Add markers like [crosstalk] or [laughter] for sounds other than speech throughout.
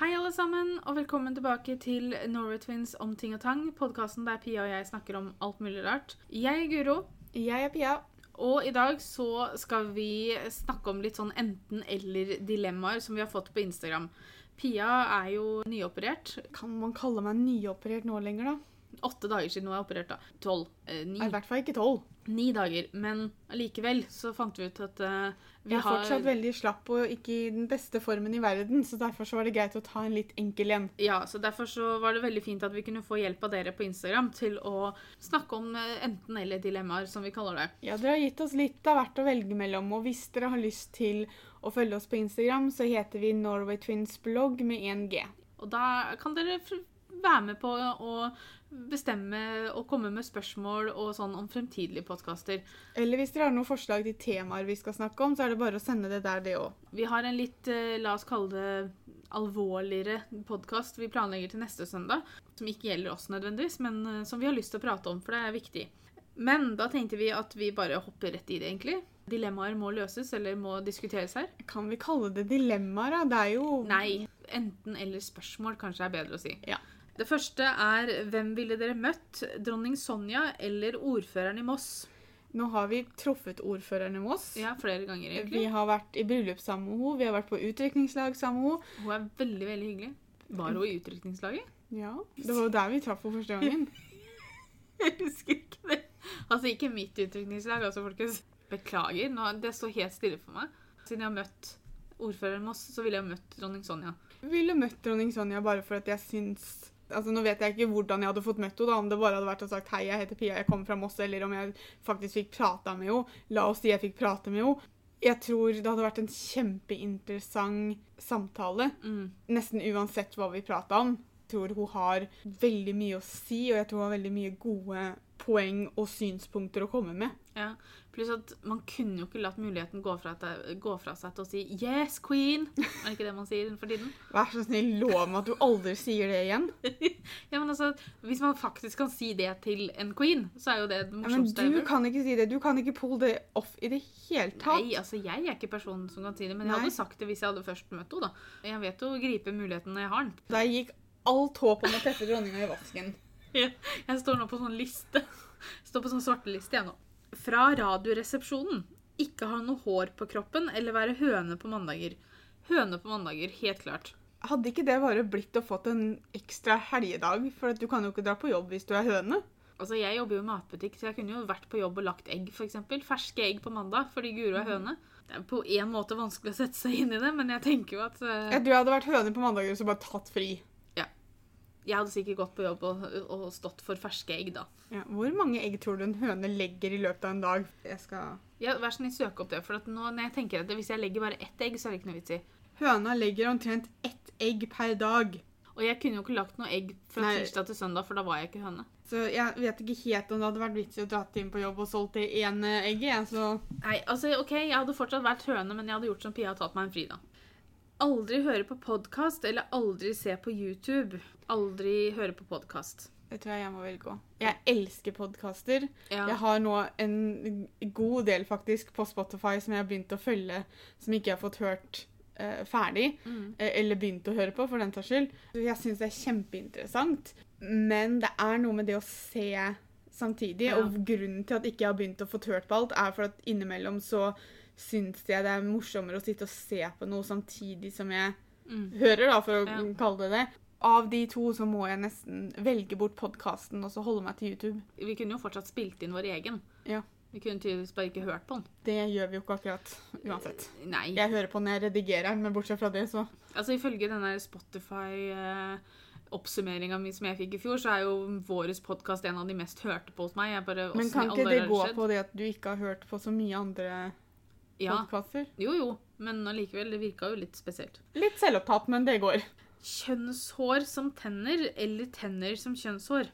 Hei, alle sammen, og velkommen tilbake til Norway Twins om ting og tang. Podkasten der Pia og jeg snakker om alt mulig rart. Jeg er Guro, Jeg er Pia. og i dag så skal vi snakke om litt sånn enten-eller-dilemmaer som vi har fått på Instagram. Pia er jo nyoperert. Kan man kalle meg nyoperert nå lenger, da? Åtte dager siden hun er operert, da. Tolv. Eh, ni. I hvert fall ikke tolv. Ni dager. Men allikevel så fant vi ut at eh, vi Jeg er fortsatt veldig slapp og ikke i den beste formen i verden, så derfor så var det greit å ta en litt enkel en. Ja, så Derfor så var det veldig fint at vi kunne få hjelp av dere på Instagram til å snakke om enten-eller-dilemmaer, som vi kaller det. Ja, dere har gitt oss litt av hvert å velge mellom, og hvis dere har lyst til å følge oss på Instagram, så heter vi Norway Twins Blogg med 1G. Og da kan dere fr- være med på å bestemme og komme med spørsmål og sånn om fremtidige podkaster. Eller hvis dere har noen forslag til temaer vi skal snakke om, så er det bare å sende det der, det òg. Vi har en litt, eh, la oss kalle det, alvorligere podkast vi planlegger til neste søndag. Som ikke gjelder oss nødvendigvis, men eh, som vi har lyst til å prate om, for det er viktig. Men da tenkte vi at vi bare hopper rett i det, egentlig. Dilemmaer må løses, eller må diskuteres her. Kan vi kalle det dilemmaer, da? Det er jo Nei. Enten eller spørsmål kanskje er bedre å si. Ja. Det første er hvem ville dere møtt? Dronning Sonja eller ordføreren i Moss? Nå har vi truffet ordføreren i Moss. Ja, flere ganger Vi egentlig. har vært i bryllup sammen med henne, vi har vært på utdrikningslag sammen med henne. Hun er veldig, veldig hyggelig. Var hun i utrykningslaget? Ja, det var jo der vi traff henne første gangen. [laughs] Jeg husker ikke det. Altså, ikke mitt utrykningslag, altså, folkens. Beklager, nå, det står helt stille for meg. Siden jeg har møtt ordføreren i Moss, så ville jeg møtt dronning Sonja. Jeg ville møtt dronning Sonja bare for at jeg syns Altså, Nå vet jeg ikke hvordan jeg hadde fått møtt henne, da, om det bare hadde vært å sagt 'hei, jeg heter Pia, jeg kommer fra Moss', eller om jeg faktisk fikk prata med henne. La oss si jeg fikk prate med henne. Jeg tror det hadde vært en kjempeinteressant samtale. Mm. Nesten uansett hva vi prata om. Jeg tror hun har veldig mye å si, og jeg tror hun har veldig mye gode poeng og synspunkter å komme med. Ja. Pluss at man kunne jo ikke latt muligheten gå fra, at- gå fra seg til å si 'yes, queen'. Er det ikke det man sier for tiden? Vær så snill, lov meg at du aldri sier det igjen. Ja, men altså, Hvis man faktisk kan si det til en queen, så er jo det det Ja, men morsomste. du ever. kan ikke si det. Du kan ikke pull det off i det hele tatt. Nei, altså, Jeg er ikke personen som kan si det, men jeg Nei. hadde sagt det hvis jeg hadde først møtt henne. da. Jeg vet jo å gripe muligheten når jeg har den. [laughs] Der gikk alt håp om å treffe dronninga i vasken. Jeg står nå på sånn liste. Står på sånn svarteliste jeg nå. Fra Radioresepsjonen. Ikke ha noe hår på kroppen eller være høne på mandager. Høne på mandager, helt klart. Hadde ikke det bare blitt å fått en ekstra helgedag? For at du kan jo ikke dra på jobb hvis du er høne. Altså, Jeg jobber jo i matbutikk, så jeg kunne jo vært på jobb og lagt egg. For eksempel. Ferske egg på mandag fordi Guro Mhm. er høne. Det er på en måte vanskelig å sette seg inn i det, men jeg tenker jo at eh, Jeg tror jeg hadde vært høne på mandager og så bare tatt fri. Jeg hadde sikkert gått på jobb og, og stått for ferske egg, da. Ja, hvor mange egg tror du en høne legger i løpet av en dag? Jeg skal... Ja, Vær så snill, søk opp det. For at nå, når jeg tenker at det, hvis jeg legger bare ett egg, så er det ikke noe vits i. Høna legger omtrent ett egg per dag. Og jeg kunne jo ikke lagt noe egg fra Nei. tirsdag til søndag, for da var jeg ikke høne. Så jeg vet ikke helt om det hadde vært vits i å dra inn på jobb og solgt det ene egget. jeg, Så Nei, altså, OK, jeg hadde fortsatt vært høne, men jeg hadde gjort som Pia og tatt meg en fri, da. Aldri høre på podkast eller aldri se på YouTube. Aldri høre på podkast. det tror jeg jeg må velge òg. Jeg elsker podkaster. Ja. Jeg har nå en god del faktisk på Spotify som jeg har begynt å følge, som ikke jeg har fått hørt eh, ferdig, Mm. eh, eller begynt å høre på, for den saks skyld. Så Jeg syns det er kjempeinteressant, men det er noe med det å se samtidig, Ja. og grunnen til at ikke jeg har begynt å få hørt på alt, er for at innimellom så syns jeg det er morsommere å sitte og se på noe samtidig som jeg Mm. hører, da, for å Ja. kalle det det. Av de to så må jeg nesten velge bort podkasten og så holde meg til YouTube. Vi kunne jo fortsatt spilt inn vår egen. Ja. Vi kunne tydeligvis bare ikke hørt på den. Det gjør vi jo ikke akkurat uansett. Nei. Jeg hører på når jeg redigerer den, men bortsett fra det, så Altså Ifølge denne Spotify-oppsummeringa mi eh, som jeg fikk i fjor, så er jo våres podkast en av de mest hørte på hos meg. Jeg bare, Men hvordan i kan all ikke det verden har gå skjedd? på det at du ikke har hørt på så mye andre Ja, podkaster? Jo jo, men allikevel, det virka jo litt spesielt. Litt selvopptatt, men det går. Kjønnshår som tenner eller tenner som kjønnshår?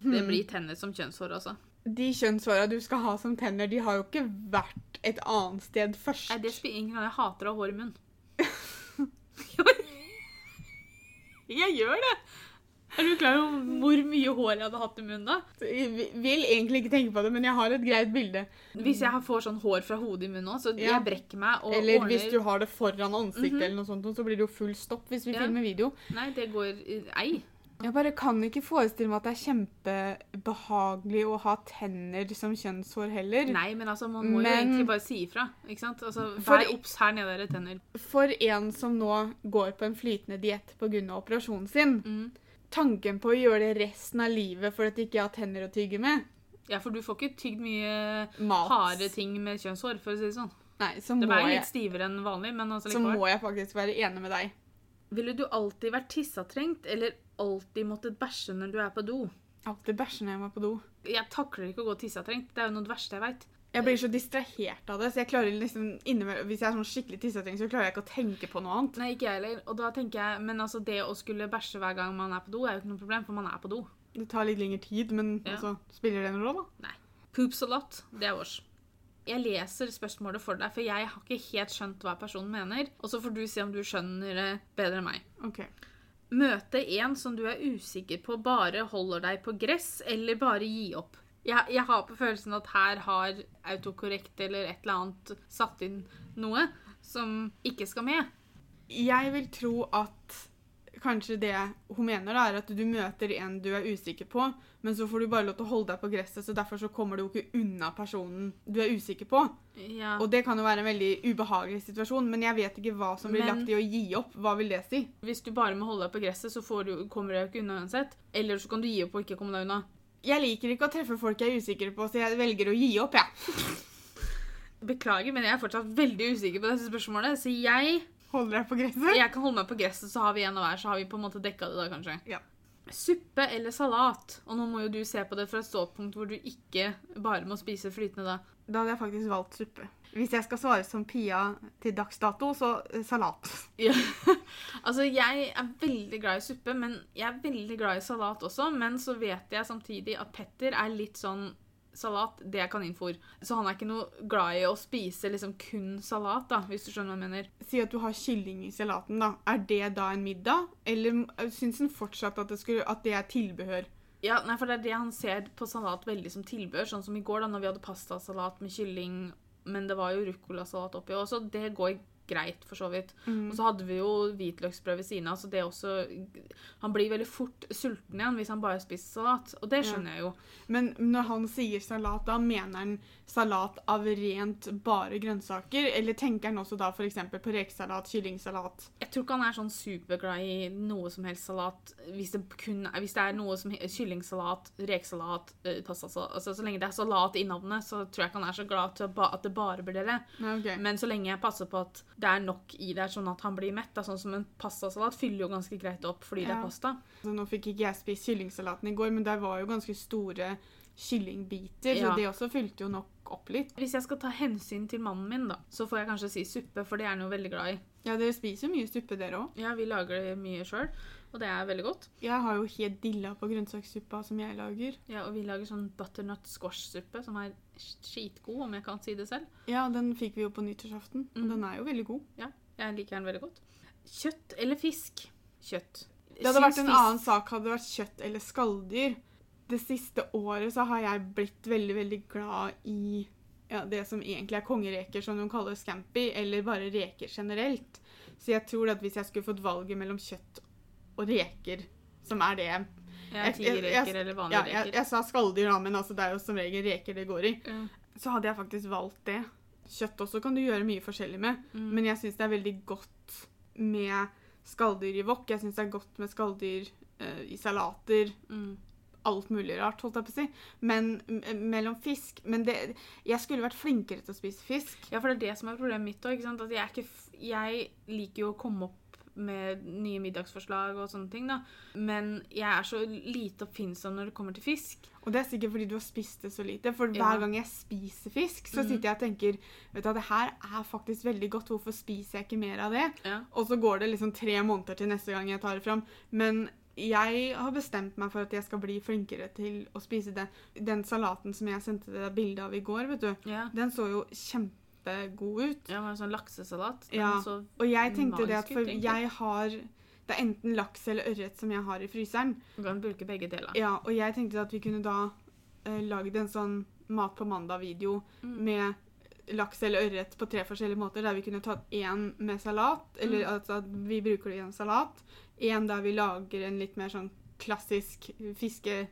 Hmm. Det blir tenner som kjønnshår, altså. De kjønnshåra du skal ha som tenner, de har jo ikke vært et annet sted først. Nei, det spiller ingen rolle. Jeg hater å ha [laughs] hår i munnen. jeg gjør det! Er du klar over hvor mye hår jeg hadde hatt i munnen da? Jeg vil egentlig ikke tenke på det, men jeg har et greit bilde. Hvis jeg får sånn hår fra hodet i munnen nå, så Ja. jeg brekker meg og Eller ordner hvis du har det foran ansiktet, eller noe sånt, så blir det jo full stopp hvis vi Ja. filmer video. Nei, det går i- Ei. Jeg bare kan ikke forestille meg at det er kjempebehagelig å ha tenner som kjønnshår heller. Nei, men altså, man må jo Men- egentlig bare si ifra. Ikke sant? Altså, For- vær obs her nede der i tenner. For en som nå går på en flytende diett pga. operasjonen sin, Mm. tanken på å gjøre det resten av livet fordi at jeg ikke har tenner å tygge med Ja, for du får ikke tygd mye Mat. harde ting med kjønnshår, for å si det liksom sånn. Nei, så De må, er litt jeg, stivere enn vanlig, men altså så likevel. må jeg faktisk være enig med deg. Ville du alltid vært tissatrengt, eller alltid måttet bæsje når du er på do? Alltid bæsjer når jeg må på do. Jeg Jeg takler ikke å gå tissatrengt. Det er jo noe av det verste jeg veit. blir så distrahert av det, så jeg klarer liksom innimellom Hvis jeg er sånn skikkelig tissetring, så klarer jeg ikke å tenke på noe annet. Nei, ikke jeg heller. Og da tenker jeg, Men altså, det å skulle bæsje hver gang man er på do, er jo ikke noe problem, for man er på do. Det tar litt lengre tid, men Ja. altså, spiller det en rolle, da? Poops a lot. Det er vårs. Jeg leser spørsmålet for deg, for jeg har ikke helt skjønt hva personen mener. Og så får du se om du skjønner det bedre enn meg. OK. Møte en som du er usikker på bare holder deg på gress, eller bare gi opp. Jeg, jeg har på følelsen at her har autokorrekt eller et eller annet satt inn noe som ikke skal med. Jeg vil tro at kanskje det hun mener, da, er at du møter en du er usikker på, men så får du bare lov til å holde deg på gresset, så derfor så kommer du jo ikke unna personen du er usikker på. Ja. Og det kan jo være en veldig ubehagelig situasjon, men jeg vet ikke hva som blir Men- lagt i å gi opp. Hva vil det si? Hvis du bare må holde deg på gresset, så får du, kommer du deg ikke unna uansett. Eller så kan du gi opp og ikke komme deg unna. Jeg liker ikke å treffe folk jeg er usikker på, så jeg velger å gi opp, jeg. Beklager, men jeg er fortsatt veldig usikker på dette spørsmålet, så jeg Holder deg på gresset? Jeg kan holde meg på gresset, så har vi en av hver. Så har vi på en måte dekka det, da, kanskje. Ja. Suppe eller salat? Og nå må jo du se på det fra et ståpunkt hvor du ikke bare må spise flytende, da. Da hadde jeg faktisk valgt suppe. Hvis jeg skal svare som Pia til dags dato, så eh, salat. Ja. [laughs] altså, jeg er veldig glad i suppe, men jeg er veldig glad i salat også. Men så vet jeg samtidig at Petter er litt sånn Salat, det er kaninfôr. Så han er ikke noe glad i å spise liksom kun salat, da, hvis du skjønner hva jeg mener. Si at du har kylling i salaten, da. Er det da en middag? Eller eh, syns han fortsatt at det, skulle, at det er tilbehør? Ja, nei, for det er det han ser på salat veldig som tilbehør. Sånn som i går, da når vi hadde pastasalat med kylling, men det var jo ruccolasalat oppi også. Det går greit, for så vidt. Og så hadde vi jo hvitløksbrød ved siden av, så det er også Han blir veldig fort sulten igjen hvis han bare spiser salat, og det Ja. skjønner jeg jo. Men når han sier salat, da mener han salat av rent bare grønnsaker? Eller tenker han også da f.eks. på rekesalat, kyllingsalat? Jeg tror ikke han er sånn superglad i noe som helst salat. Hvis det, kun, er- hvis det er noe som he- kyllingsalat, rekesalat, eh, pastasalat altså, Så lenge det er salat i navnet, så tror jeg ikke han er så glad til å ba, at det bare blir det. Nei, ok. Men så lenge jeg passer på at det er nok i det, sånn at han blir mett. Da, sånn som en pastasalat fyller jo ganske greit opp fordi det Ja. er pasta. Så altså, nå fikk ikke jeg spist kyllingsalaten i går, men der var jo ganske store kyllingbiter, Ja. så det også fylte jo nok opp litt. Hvis jeg skal ta hensyn til mannen min, da, så får jeg kanskje si suppe, for det er han jo veldig glad i. Ja, dere spiser jo mye suppe, dere òg. Ja, vi lager det mye sjøl, og det er veldig godt. Jeg har jo helt dilla på grønnsakssuppa som jeg lager. Ja, og vi lager sånn butternut squash-suppe, som er skitgod, om jeg kan si det selv. Ja, den fikk vi jo på nyttårsaften, og den er jo veldig god. Ja, jeg liker den veldig godt. Kjøtt eller fisk? Kjøtt. Det hadde vært Syns en fisk- annen sak hadde det vært kjøtt eller skalldyr. Det siste året så har jeg blitt veldig, veldig glad i ja, det som egentlig er kongereker, som de kaller scampi, eller bare reker generelt. Så jeg tror at hvis jeg skulle fått valget mellom kjøtt og reker, som er det jeg Ja, Jeg- jeg- jeg- tigerreker eller Ja, vanlige jeg, reker. Mm, jeg sa skalldyr, da, men altså, det er jo som regel reker det går i. Ja. Så hadde jeg faktisk valgt det. Kjøtt også kan du gjøre mye forskjellig med, Mm. men jeg syns det er veldig godt med skalldyr i wok. Jeg syns det er godt med skalldyr eh, i salater. Mm. Alt mulig rart, holdt jeg på å si. Men m- mellom fisk Men det, jeg skulle vært flinkere til å spise fisk. Ja, for det er det som er problemet mitt òg. At jeg, er ikke f jeg liker jo å komme opp med nye middagsforslag og sånne ting, da. Men jeg er så lite oppfinnsom når det kommer til fisk. Og det er sikkert fordi du har spist det så lite. For Ja. hver gang jeg spiser fisk, så Mhm. sitter jeg og tenker Vet du hva, det her er faktisk veldig godt. Hvorfor spiser jeg ikke mer av det? Ja. Og så går det liksom tre måneder til neste gang jeg tar det fram. Men jeg har bestemt meg for at jeg skal bli flinkere til å spise det. Den salaten som jeg sendte deg bilde av i går, vet du, Ja, den så jo kjempegod ut. ja men sånn laksesalat. Den Ja. Så, Og jeg tenkte det at Magisk ut, for egentlig. jeg har Det er enten laks eller ørret som jeg har i fryseren. Du kan bruke begge deler. Ja, og jeg tenkte at vi kunne da eh, lagd en sånn Mat på mandag-video Mm. med laks eller ørret på tre forskjellige måter, der vi kunne tatt én med salat, eller Mm. altså at vi bruker det i en salat, én der vi lager en litt mer sånn klassisk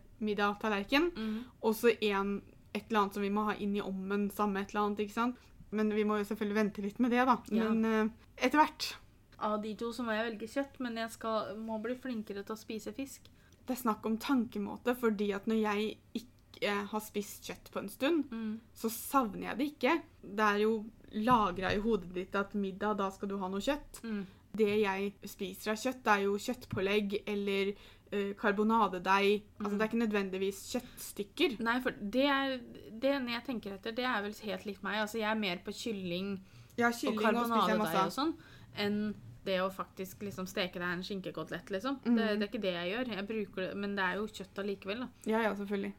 fiskemiddag-tallerken, Mm. og så én et eller annet som vi må ha inn i ommen, samme et eller annet, ikke sant? Men vi må jo selvfølgelig vente litt med det, da. Ja. Men eh, etter hvert. Av de to så må jeg velge kjøtt, men jeg skal, må bli flinkere til å spise fisk. Det er snakk om tankemåte, fordi at når jeg ikke har spist kjøtt på en stund, Mm. så savner jeg det ikke. Det er jo lagra i hodet ditt at middag, da skal du ha noe kjøtt. Mm. Det jeg spiser av kjøtt, det er jo kjøttpålegg eller eh, karbonadedeig. Altså Mm. det er ikke nødvendigvis kjøttstykker. Nei, for det er det ene jeg tenker etter, det er vel helt likt meg. Altså, jeg er mer på kylling, Ja, og kylling og spiser jeg karbonadedeig masse og av. sånn, enn det å faktisk liksom steke deg en skinkekotelett, liksom. Mhm. Det, det er ikke det jeg gjør. Jeg bruker det, men det er jo kjøtt allikevel, da. Ja, ja, selvfølgelig.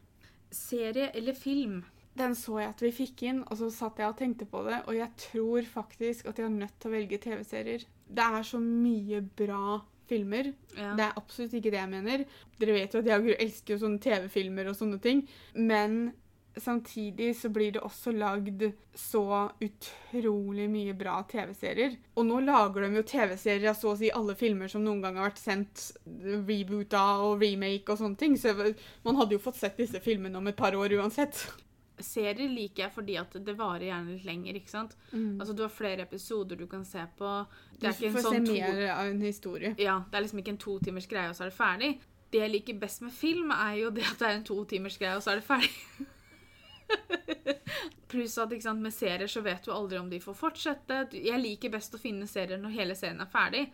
Serie eller film? Den så jeg at vi fikk inn, og så satt jeg og tenkte på det, og jeg tror faktisk at jeg er nødt til å velge TV-serier. Det er så mye bra filmer. Ja. Det er absolutt ikke det jeg mener. Dere vet jo at jeg og Guro elsker jo sånne TV-filmer og sånne ting. Men samtidig så blir det også lagd så utrolig mye bra TV-serier. Og nå lager de jo TV-serier av så å si alle filmer som noen gang har vært sendt reboota og remake og sånne ting. Så man hadde jo fått sett disse filmene om et par år uansett. Serier liker jeg fordi at det varer gjerne litt lenger, ikke sant? Altså, du har flere episoder du kan se på. Mm. Du Det er ikke en får sånn se to... mer av en historie. Ja, det er liksom ikke en to timers greie, og så er det ferdig. Det jeg liker best med film, er jo det at det er en to timers greie, og så er det ferdig. [laughs] Pluss at ikke sant, med serier så vet du aldri om de får fortsette. Du- Jeg liker best å finne serier når hele serien er ferdig.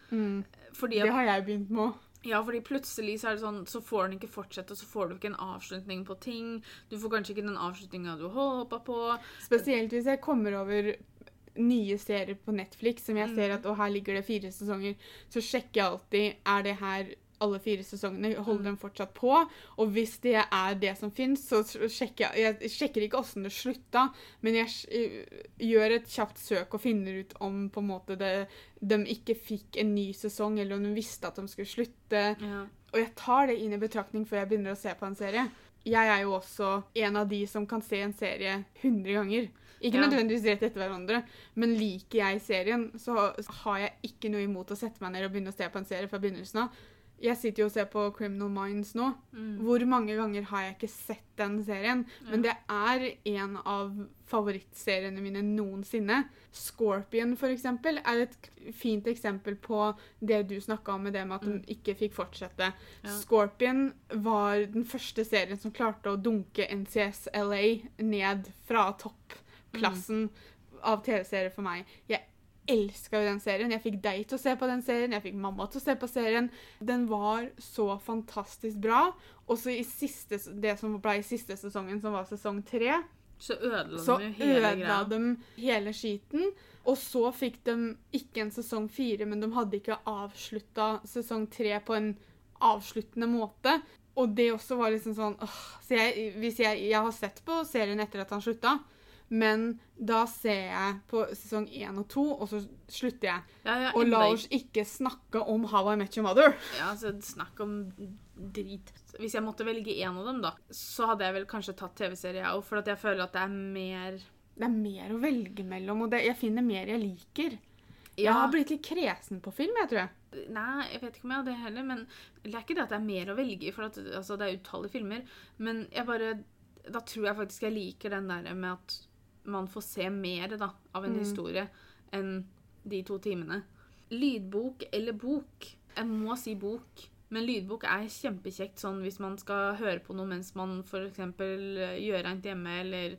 Fordi, Det at, har jeg begynt med òg. ja, fordi plutselig så er det sånn, så får den ikke fortsette, og så får du ikke en avslutning på ting. Du får kanskje ikke den avslutninga du håpa på. Spesielt hvis jeg kommer over nye serier på Netflix som jeg Mm. ser at «Å, her ligger det fire sesonger, så sjekker jeg alltid er det her alle fire sesongene, holder de fortsatt på? Og hvis det er det som fins, så s- sjekker jeg Jeg sjekker ikke åssen det slutta, men jeg s- eh, gjør et kjapt søk og finner ut om på en måte det, de ikke fikk en ny sesong, eller om de visste at de skulle slutte. Ja. Og jeg tar det inn i betraktning før jeg begynner å se på en serie. Jeg er jo også en av de som kan se en serie 100 ganger. Ikke Ja. nødvendigvis rett etter hverandre, men liker jeg serien, så har jeg ikke noe imot å sette meg ned og begynne å se på en serie fra begynnelsen av. Jeg sitter jo og ser på Criminal Minds nå. Mm. Hvor mange ganger har jeg ikke sett den serien? Men det er en av favorittseriene mine noensinne. Scorpion, for eksempel, er et k- fint eksempel på det du snakka om med det med at de ikke fikk fortsette. Mm. Ja. Scorpion var den første serien som klarte å dunke NCSLA ned fra Mm. topplassen av TV-serier for meg. Jeg elska jo den serien. Jeg fikk deg til å se på den serien, jeg fikk mamma til å se på serien. Den var så fantastisk bra. Og så i siste, det som ble i siste sesongen, som var sesong tre, Så ødela så de jo hele ødela greia. de hele skiten. Og så fikk de ikke en sesong fire, men de hadde ikke avslutta sesong tre på en avsluttende måte. Og det også var liksom sånn åh, så jeg, hvis jeg, jeg har sett på serien etter at han slutta, men da ser jeg på sesong én og to, og så slutter jeg. Ja, ja, Og enda la ikke- oss ikke snakke om How I Met Your Mother. Ja, altså, snakk om drit. Hvis jeg måtte velge én av dem, da, så hadde jeg vel kanskje tatt TV-serie, jeg òg, for at jeg føler at det er mer Det er mer å velge mellom, og det, jeg finner mer jeg liker. Jeg Ja, har blitt litt kresen på film, jeg tror jeg. Nei, jeg vet ikke om jeg hadde det heller, men det er ikke det at det er mer å velge i, for at, altså, det er utallige filmer, men jeg bare Da tror jeg faktisk jeg liker den der med at man får se mer da, av en Mm. historie enn de to timene. Lydbok eller bok? Jeg må si bok. Men lydbok er kjempekjekt sånn hvis man skal høre på noe mens man f.eks. gjør rent hjemme, eller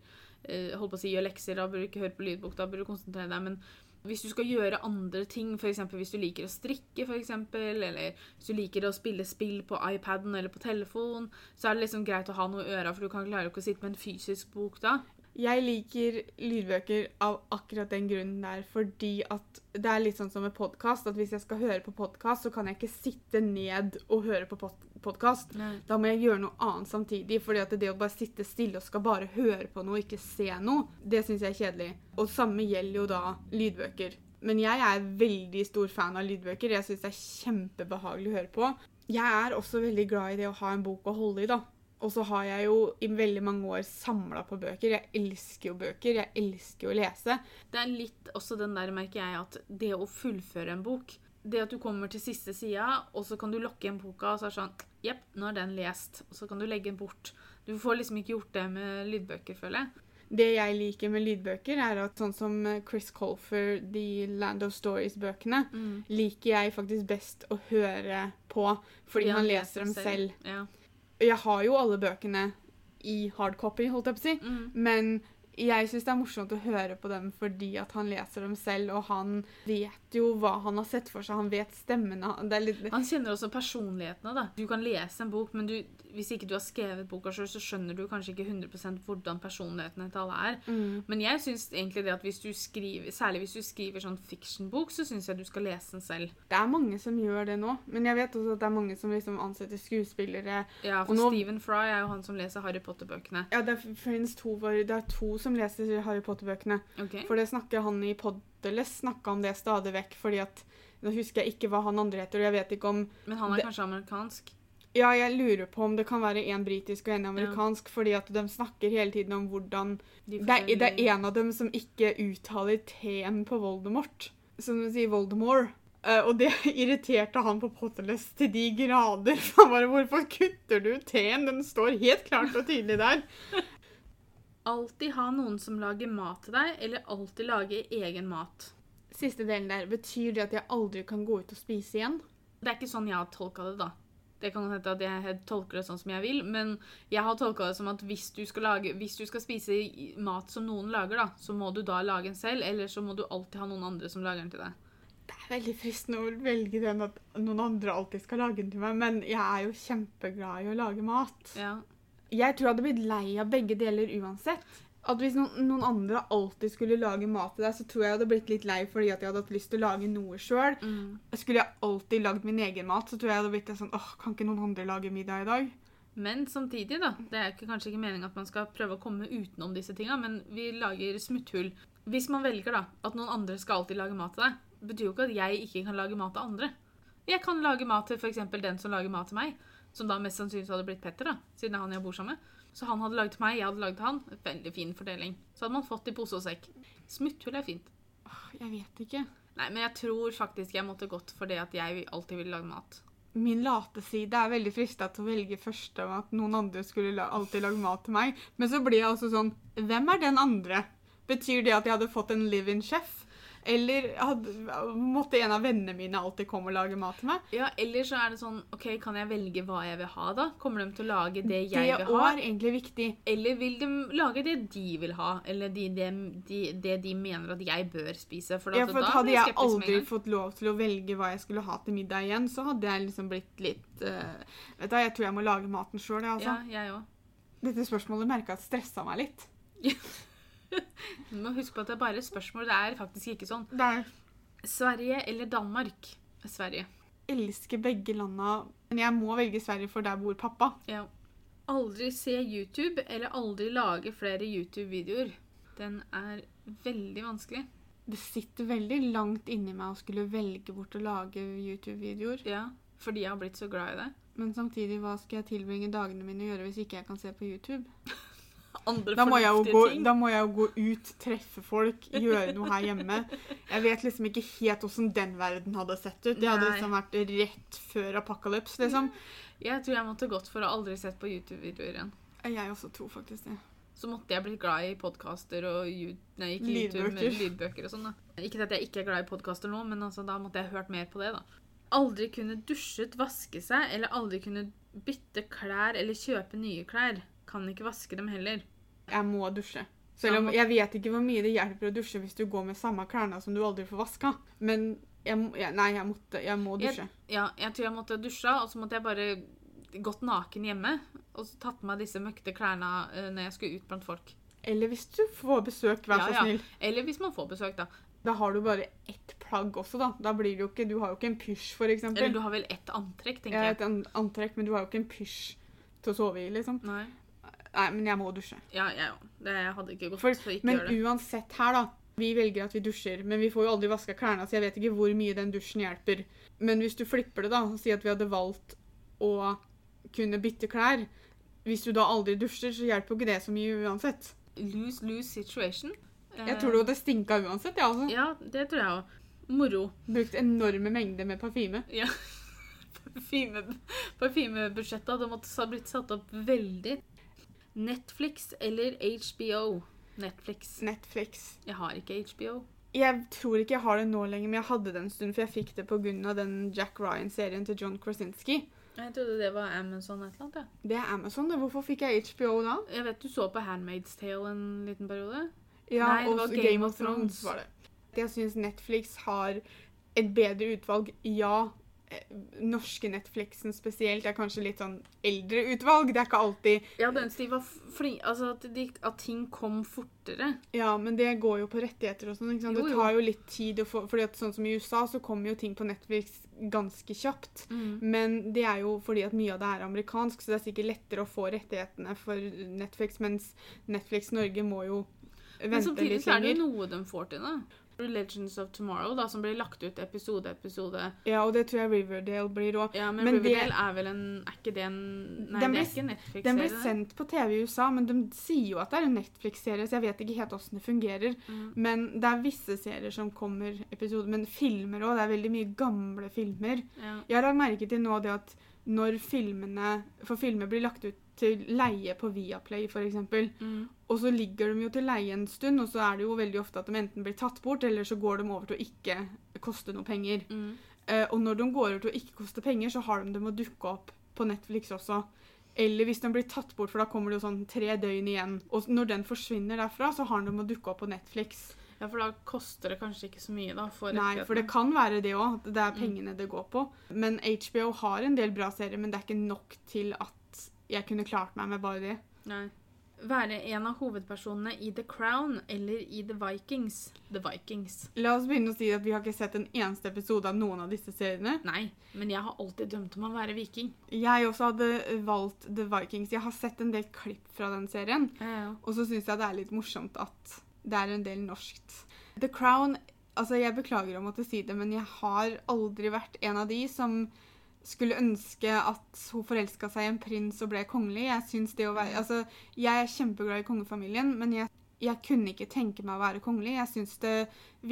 eh, holdt på å si gjør lekser. Da bør du ikke høre på lydbok, da bør du konsentrere deg. Men hvis du skal gjøre andre ting, f.eks. hvis du liker å strikke, for eksempel, eller hvis du liker å spille spill på iPaden eller på telefon, så er det liksom greit å ha noe i øra, for du kan klare ikke å sitte med en fysisk bok da. Jeg liker lydbøker av akkurat den grunnen der, fordi at det er litt sånn som med podkast, at hvis jeg skal høre på podkast, så kan jeg ikke sitte ned og høre på podkast. Da må jeg gjøre noe annet samtidig, fordi at det å bare sitte stille og skal bare høre på noe og ikke se noe, det syns jeg er kjedelig. Og samme gjelder jo da lydbøker. Men jeg er veldig stor fan av lydbøker. Jeg syns det er kjempebehagelig å høre på. Jeg er også veldig glad i det å ha en bok å holde i, da. Og så har jeg jo i veldig mange år samla på bøker. Jeg elsker jo bøker. Jeg elsker jo å lese. Det er litt også den der, merker jeg, at det å fullføre en bok Det at du kommer til siste sida, og så kan du lokke igjen boka, og så er det sånn Jepp, nå er den lest. Og så kan du legge den bort. Du får liksom ikke gjort det med lydbøker, føler jeg. Det jeg liker med lydbøker, er at sånn som Chris Colfer, de Land of Stories-bøkene, liker jeg faktisk best å høre på, fordi han leser dem selv. Ja. Jeg har jo alle bøkene i hardcopy, holdt jeg på å si, Mm. men jeg syns det er morsomt å høre på dem fordi at han leser dem selv, og han vet jo hva han har sett for seg, han vet stemmene det er litt, Han kjenner også personlighetene. da. Du kan lese en bok, men du, hvis ikke du har skrevet boka sjøl, så skjønner du kanskje ikke 100 hvordan personlighetene til alle er. mm, Men jeg syns egentlig det at hvis du skriver, særlig hvis du skriver sånn fiction-bok, så syns jeg du skal lese den selv. Det er mange som gjør det nå, men jeg vet også at det er mange som liksom ansetter skuespillere Ja, for Og nå- Stephen Fry er jo han som leser Harry Potter-bøkene. Ja, det er, finnes to, var- det er to som leser Harry Potter-bøkene. Ok? For det snakker han i Podderless snakka om det stadig vekk, fordi at nå husker jeg ikke hva han andre heter, og jeg vet ikke om Men han er Det- kanskje amerikansk? Ja, jeg lurer på om det kan være én britisk og én amerikansk, fordi at de snakker hele tiden om hvordan De Det er, det forskjellige- er en av dem som ikke uttaler T-en på Voldemort, som de sier Voldemore. Eh, og det [laughs] irriterte han på Potterless til de grader. [laughs] for Han bare 'Hvorfor kutter du T-en? Den står helt klart og tydelig der.' Alltid ha noen som lager mat til deg, eller alltid lage egen mat. Siste delen der, betyr det at jeg aldri kan gå ut og spise igjen? Det er ikke sånn jeg har tolka det, da. Det kan hende at jeg tolker det sånn som jeg vil, men jeg har tolka det som at hvis du, skal lage, hvis du skal spise i- mat som noen lager, da, så må du da lage den selv, eller så må du alltid ha noen andre som lager den til deg. Det er veldig fristende å velge den at noen andre alltid skal lage den til meg, men jeg er jo kjempeglad i å lage mat. Ja. Jeg tror jeg hadde blitt lei av begge deler uansett. At Hvis noen, noen andre alltid skulle lage mat til deg, så tror jeg jeg hadde blitt litt lei fordi at jeg hadde hatt lyst til å lage noe sjøl. Mm. Skulle jeg alltid lagd min egen mat, så tror jeg jeg hadde blitt litt sånn åh, kan ikke noen andre lage middag i dag? Men samtidig, da. Det er ikke, kanskje ikke meninga at man skal prøve å komme utenom disse tinga, men vi lager smutthull. Hvis man velger da, at noen andre skal alltid lage mat til deg, betyr jo ikke at jeg ikke kan lage mat til andre. Jeg kan lage mat til f.eks. den som lager mat til meg, som da mest sannsynlig hadde blitt Petter, da, siden det er han jeg bor sammen med. Så han hadde laget til meg, jeg hadde laget til han. Veldig fin fordeling. Så hadde man fått i pose og sekk. Smutthull er fint. Åh, Jeg vet ikke. Nei, men jeg tror faktisk jeg måtte gått for det at jeg alltid vil lage mat. Min lateside er veldig frista til å velge først om at noen andre skulle la, alltid lage mat til meg. Men så blir jeg altså sånn Hvem er den andre? Betyr det at jeg hadde fått en live-in-sjef? Eller hadde, måtte en av vennene mine alltid komme og lage mat til meg? Ja, eller så er det sånn OK, kan jeg velge hva jeg vil ha, da? Kommer de til å lage det Det jeg vil òg ha? er egentlig viktig. Eller vil de lage det de vil ha, eller de, de, de, det de mener at jeg bør spise? For, at, Ja, for da hadde blir jeg skeptisk med en aldri gang. fått lov til å velge hva jeg skulle ha til middag igjen, så hadde jeg liksom blitt litt eh, Vet du hva, jeg tror jeg må lage maten sjøl, jeg, altså. Ja, jeg òg. Dette spørsmålet merka jeg at stressa meg litt. [laughs] Du må huske på at det er bare et spørsmål. Det er faktisk ikke sånn. Det er Sverige eller Danmark? Sverige. elsker begge landa, men jeg må velge Sverige, for der bor pappa. Ja. Aldri se YouTube, eller aldri lage flere YouTube-videoer. Den er veldig vanskelig. Det sitter veldig langt inni meg å skulle velge bort å lage YouTube-videoer. Ja, fordi jeg har blitt så glad i det. Men samtidig, hva skal jeg tilbringe dagene mine å gjøre hvis ikke jeg kan se på YouTube? Andre Da må, jeg jo fornuftige gå, ting. da må jeg jo gå ut, treffe folk, gjøre noe her hjemme. Jeg vet liksom ikke helt hvordan den verden hadde sett ut. Det hadde Nei. Mm. liksom vært rett før apocalypse, liksom. Jeg tror jeg måtte gått for å aldri sett på YouTube-videoer igjen. Jeg også tror faktisk det. Så måtte jeg blitt glad i podkaster og ljud, nei, ikke YouTube, men Lydbøker. lydbøker og sånn. da. Ikke at jeg ikke er glad i podkaster nå, men altså, da måtte jeg hørt mer på det. da. Aldri kunne dusjet, vaske seg, eller aldri kunne bytte klær eller kjøpe nye klær. Kan ikke vaske dem heller. Jeg må dusje. Selv om jeg vet ikke hvor mye det hjelper å dusje hvis du går med samme klærne som du aldri får vaska. Men jeg, må- jeg, nei, jeg, måtte, jeg må Jeg- dusje. Ja, jeg tror jeg måtte dusja, og så måtte jeg bare gått naken hjemme. Og så tatt på meg disse møkte klærne eh, når jeg skulle ut blant folk. Eller hvis du får besøk, Ja, vær så ja. snill. Eller hvis man får besøk, da. Da har du bare ett plagg også, da. Da blir det jo ikke, Du har jo ikke en pysj, for Eller eksempel. du har vel ett antrekk, Jeg har tenker jeg. et an- antrekk, men du har jo ikke en pysj til å sove i, liksom. Nei. Nei, men jeg må dusje. Ja, jeg òg. Jeg hadde ikke gått For, for ikke men gjøre det. uansett her, da, Vi velger at vi dusjer, men vi får jo aldri vaska klærne, så jeg vet ikke hvor mye den dusjen hjelper. Men hvis du flipper det, da, og sier at vi hadde valgt å kunne bytte klær Hvis du da aldri dusjer, så hjelper jo ikke det så mye uansett. Lose-lose situation. Eh, Jeg tror jo det stinka uansett, jeg ja, altså. Ja, det tror jeg òg. Moro. Brukt enorme mengder med parfyme. Ja. Parfyme- Parfymebudsjettet hadde måttet ha blitt satt opp veldig. Netflix eller HBO? Netflix. Netflix. Jeg har ikke HBO. Jeg tror ikke jeg har det nå lenger, men jeg hadde det en stund, for jeg fikk det pga. den Jack Ryan-serien til John Krasinski. Jeg trodde det var Amazon et eller annet. Ja. Det er Amazon, det. Hvorfor fikk jeg HBO da? Jeg vet du så på Handmaid's Tale en liten periode. Ja, Nei, det og var Game, of Thrones. var det. Jeg syns Netflix har et bedre utvalg. Ja, eh, norske Netflixen spesielt er kanskje litt sånn eldre utvalg. Det er ikke alltid Jeg hadde ønsket de var flinke Altså at, de, at ting kom fortere. Ja, men det går jo på rettigheter og sånn. ikke sant? Jo, Det jo. tar jo litt tid å få fordi at sånn som i USA, så kommer jo ting på Netflix ganske kjapt. Mm. Men det er jo fordi at mye av det er amerikansk, så det er sikkert lettere å få rettighetene for Netflix, mens Netflix Norge må jo Men vente samtidig litt så er det lenger. jo noe de får til, da. Legends of Tomorrow, da, som blir lagt ut episode episode. Ja, og det tror jeg Riverdale blir òg. Ja, men, Men det- Riverdale er vel en Er ikke det en Nei, det Den ble- er ikke en Netflix-serie. Den ble det. sendt på TV i USA, men de sier jo at det er en Netflix-serie, så jeg vet ikke helt åssen det fungerer. Mm. Men det er visse serier som kommer episoder, men filmer òg. Det er veldig mye gamle filmer. Ja. Jeg har lagt merke til nå det at når filmene For filmer blir lagt ut til leie på Viaplay, f.eks. Mm. Og så ligger de jo til leie en stund, og så er det jo veldig ofte at de enten blir tatt bort, eller så går de over til å ikke koste noe penger. Mm. Eh, og når de går over til å ikke koste penger, så har de dem å dukke opp på Netflix også. Eller hvis de blir tatt bort, for da kommer det jo sånn tre døgn igjen. Og når den forsvinner derfra, så har de dem å dukke opp på Netflix. ja, for da koster det kanskje ikke så mye, da. For Nei, for det kan være det òg, at det er pengene det går på. Men HBO har en del bra serier, men det er ikke nok til at jeg kunne klart meg med bare det. Nei. Være en av hovedpersonene i The Crown eller i The Vikings. The Vikings. La oss begynne å si at vi har ikke sett en eneste episode av noen av disse seriene. Nei, men jeg har alltid drømt om å være viking. Jeg også hadde valgt The Vikings. Jeg har sett en del klipp fra den serien, og så syns jeg det er litt morsomt at det er en del norskt. The Crown Altså, jeg beklager å måtte si det, men jeg har aldri vært en av de som skulle ønske at hun forelska seg i en prins og ble kongelig. Jeg synes det å være, altså, jeg er kjempeglad i kongefamilien, men jeg, jeg kunne ikke tenke meg å være kongelig. Jeg syns det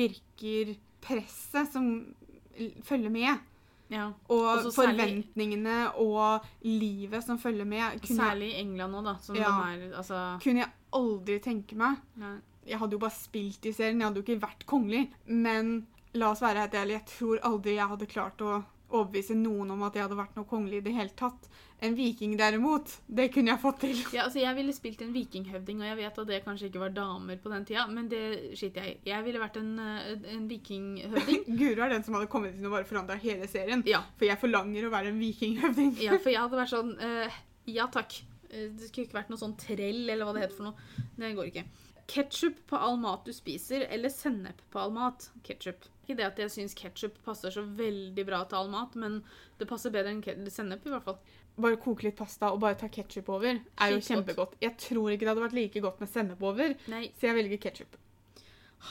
virker presset som l- følger med. Ja. Og Og så særlig- forventningene og livet som følger med, kunne, Særlig i England nå, da. Som Ja. de er Altså kunne jeg aldri tenke meg. nei. Jeg hadde jo bare spilt i serien, jeg hadde jo ikke vært kongelig. Men la oss være helt ærlige, jeg tror aldri jeg hadde klart å overbevise noen om at jeg hadde vært noe kongelig i det hele tatt. En viking derimot, det kunne jeg fått til. [laughs] Ja, altså Jeg ville spilt en vikinghøvding, og jeg vet at det kanskje ikke var damer på den tida, men det skiter jeg i. Jeg ville vært en, eh, en vikinghøvding. [laughs] Guro er den som hadde kommet inn og bare forandra hele serien. Ja. For jeg forlanger å være en vikinghøvding. ja, for jeg hadde vært sånn eh, Ja takk. Eh, Det skulle ikke vært noe sånn trell eller hva det heter for noe. Det går ikke. Ketsjup på all mat du spiser, eller sennep på all mat. Ketsjup. Ikke det at jeg syns ketsjup passer så veldig bra til all mat, men det passer bedre enn ke- sennep, i hvert fall. Bare koke litt pasta og bare ta ketsjup over er jo Sykt kjempegodt. Jeg tror ikke det hadde vært like godt med sennep over, Nei, så jeg velger ketsjup.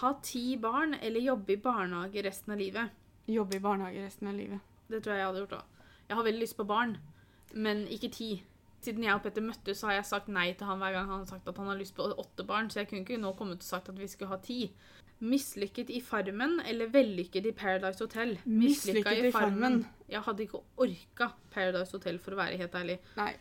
ha ti barn eller jobbe i barnehage resten av livet. Jobbe i barnehage resten av livet. Det tror jeg jeg hadde gjort òg. Jeg har veldig lyst på barn, men ikke ti. Siden jeg og Petter møttes, så har jeg sagt nei til han hver gang han har sagt at han har lyst på åtte barn, så jeg kunne ikke nå kommet og sagt at vi skulle ha ti. Mislykket i Farmen eller vellykket i Paradise Hotel? Mislykket Mislykket i Farmen. Jeg hadde ikke orka Paradise Hotel, for å være helt ærlig. Nei.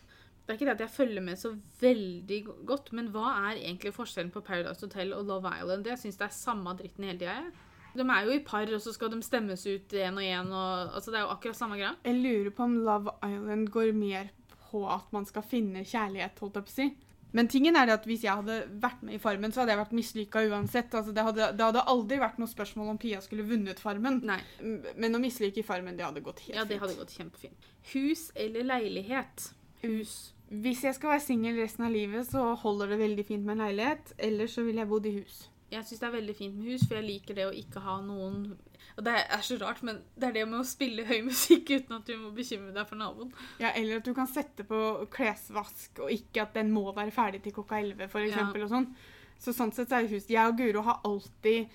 Det er ikke det at jeg følger med så veldig go- godt, men hva er egentlig forskjellen på Paradise Hotel og Love Island? Jeg syns det er samme dritten hele tida. jeg. De er jo i par, og så skal de stemmes ut én og én. og- Altså, det er jo akkurat samme greia. Jeg lurer på om Love Island går mer på at man skal finne kjærlighet, holdt jeg på å si. Men tingen er det at hvis jeg hadde vært med i Farmen, så hadde jeg vært mislykka uansett. Altså, det, hadde, det hadde aldri vært noe spørsmål om Pia skulle vunnet Farmen. Nei. M- Men å mislike i Farmen, det hadde gått helt Ja, det hadde gått kjempefint. Hus eller leilighet? Hus. Hvis jeg skal være singel resten av livet, så holder det veldig fint med en leilighet. Ellers så ville jeg bodd i hus. Jeg syns det er veldig fint med hus, for jeg liker det å ikke ha noen Og det er så rart, men det er det med å spille høy musikk uten at du må bekymre deg for naboen. Ja, Eller at du kan sette på klesvask, og ikke at den må være ferdig til klokka 11, for Ja. eksempel, og sånn. Så sånn sett så er hus Jeg og Guro har alltid,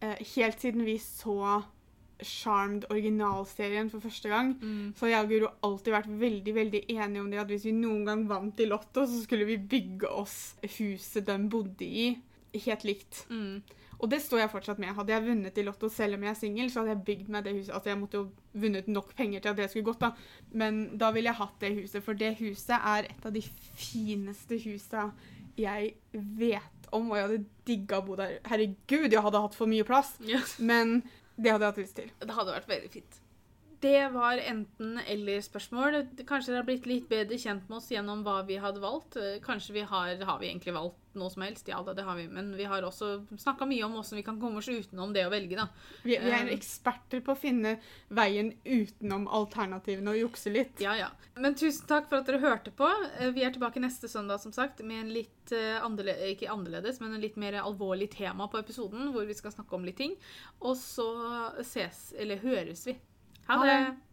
eh, helt siden vi så Charmed originalserien for første gang, Mm. så har jeg og Guro alltid vært veldig veldig enige om det at hvis vi noen gang vant i Lotto, så skulle vi bygge oss huset de bodde i, helt likt. Mm. Og det står jeg fortsatt med. Hadde jeg vunnet i Lotto selv om jeg er singel, så hadde jeg bygd meg det huset. Altså, jeg måtte jo vunnet nok penger til at det skulle gått, da. Men da ville jeg hatt det huset, for det huset er et av de fineste husa jeg vet om, og jeg hadde digga å bo der. Herregud, jeg hadde hatt for mye plass, Ja. men det hadde jeg hatt lyst til. Det hadde vært veldig fint. Det var enten-eller-spørsmål. Kanskje dere har blitt litt bedre kjent med oss gjennom hva vi hadde valgt. Eh, Kanskje vi har Har vi egentlig valgt noe som helst? Ja da, det har vi. Men vi har også snakka mye om hvordan vi kan komme oss utenom det å velge, da. Vi, vi er Um. eksperter på å finne veien utenom alternativene og jukse litt. Ja, ja. Men tusen takk for at dere hørte på. Eh, Vi er tilbake neste søndag som sagt, med en litt eh, andele ikke annerledes, men en litt mer alvorlig tema på episoden, hvor vi skal snakke om litt ting. Og så ses, eller høres vi. Ha Ha det! det.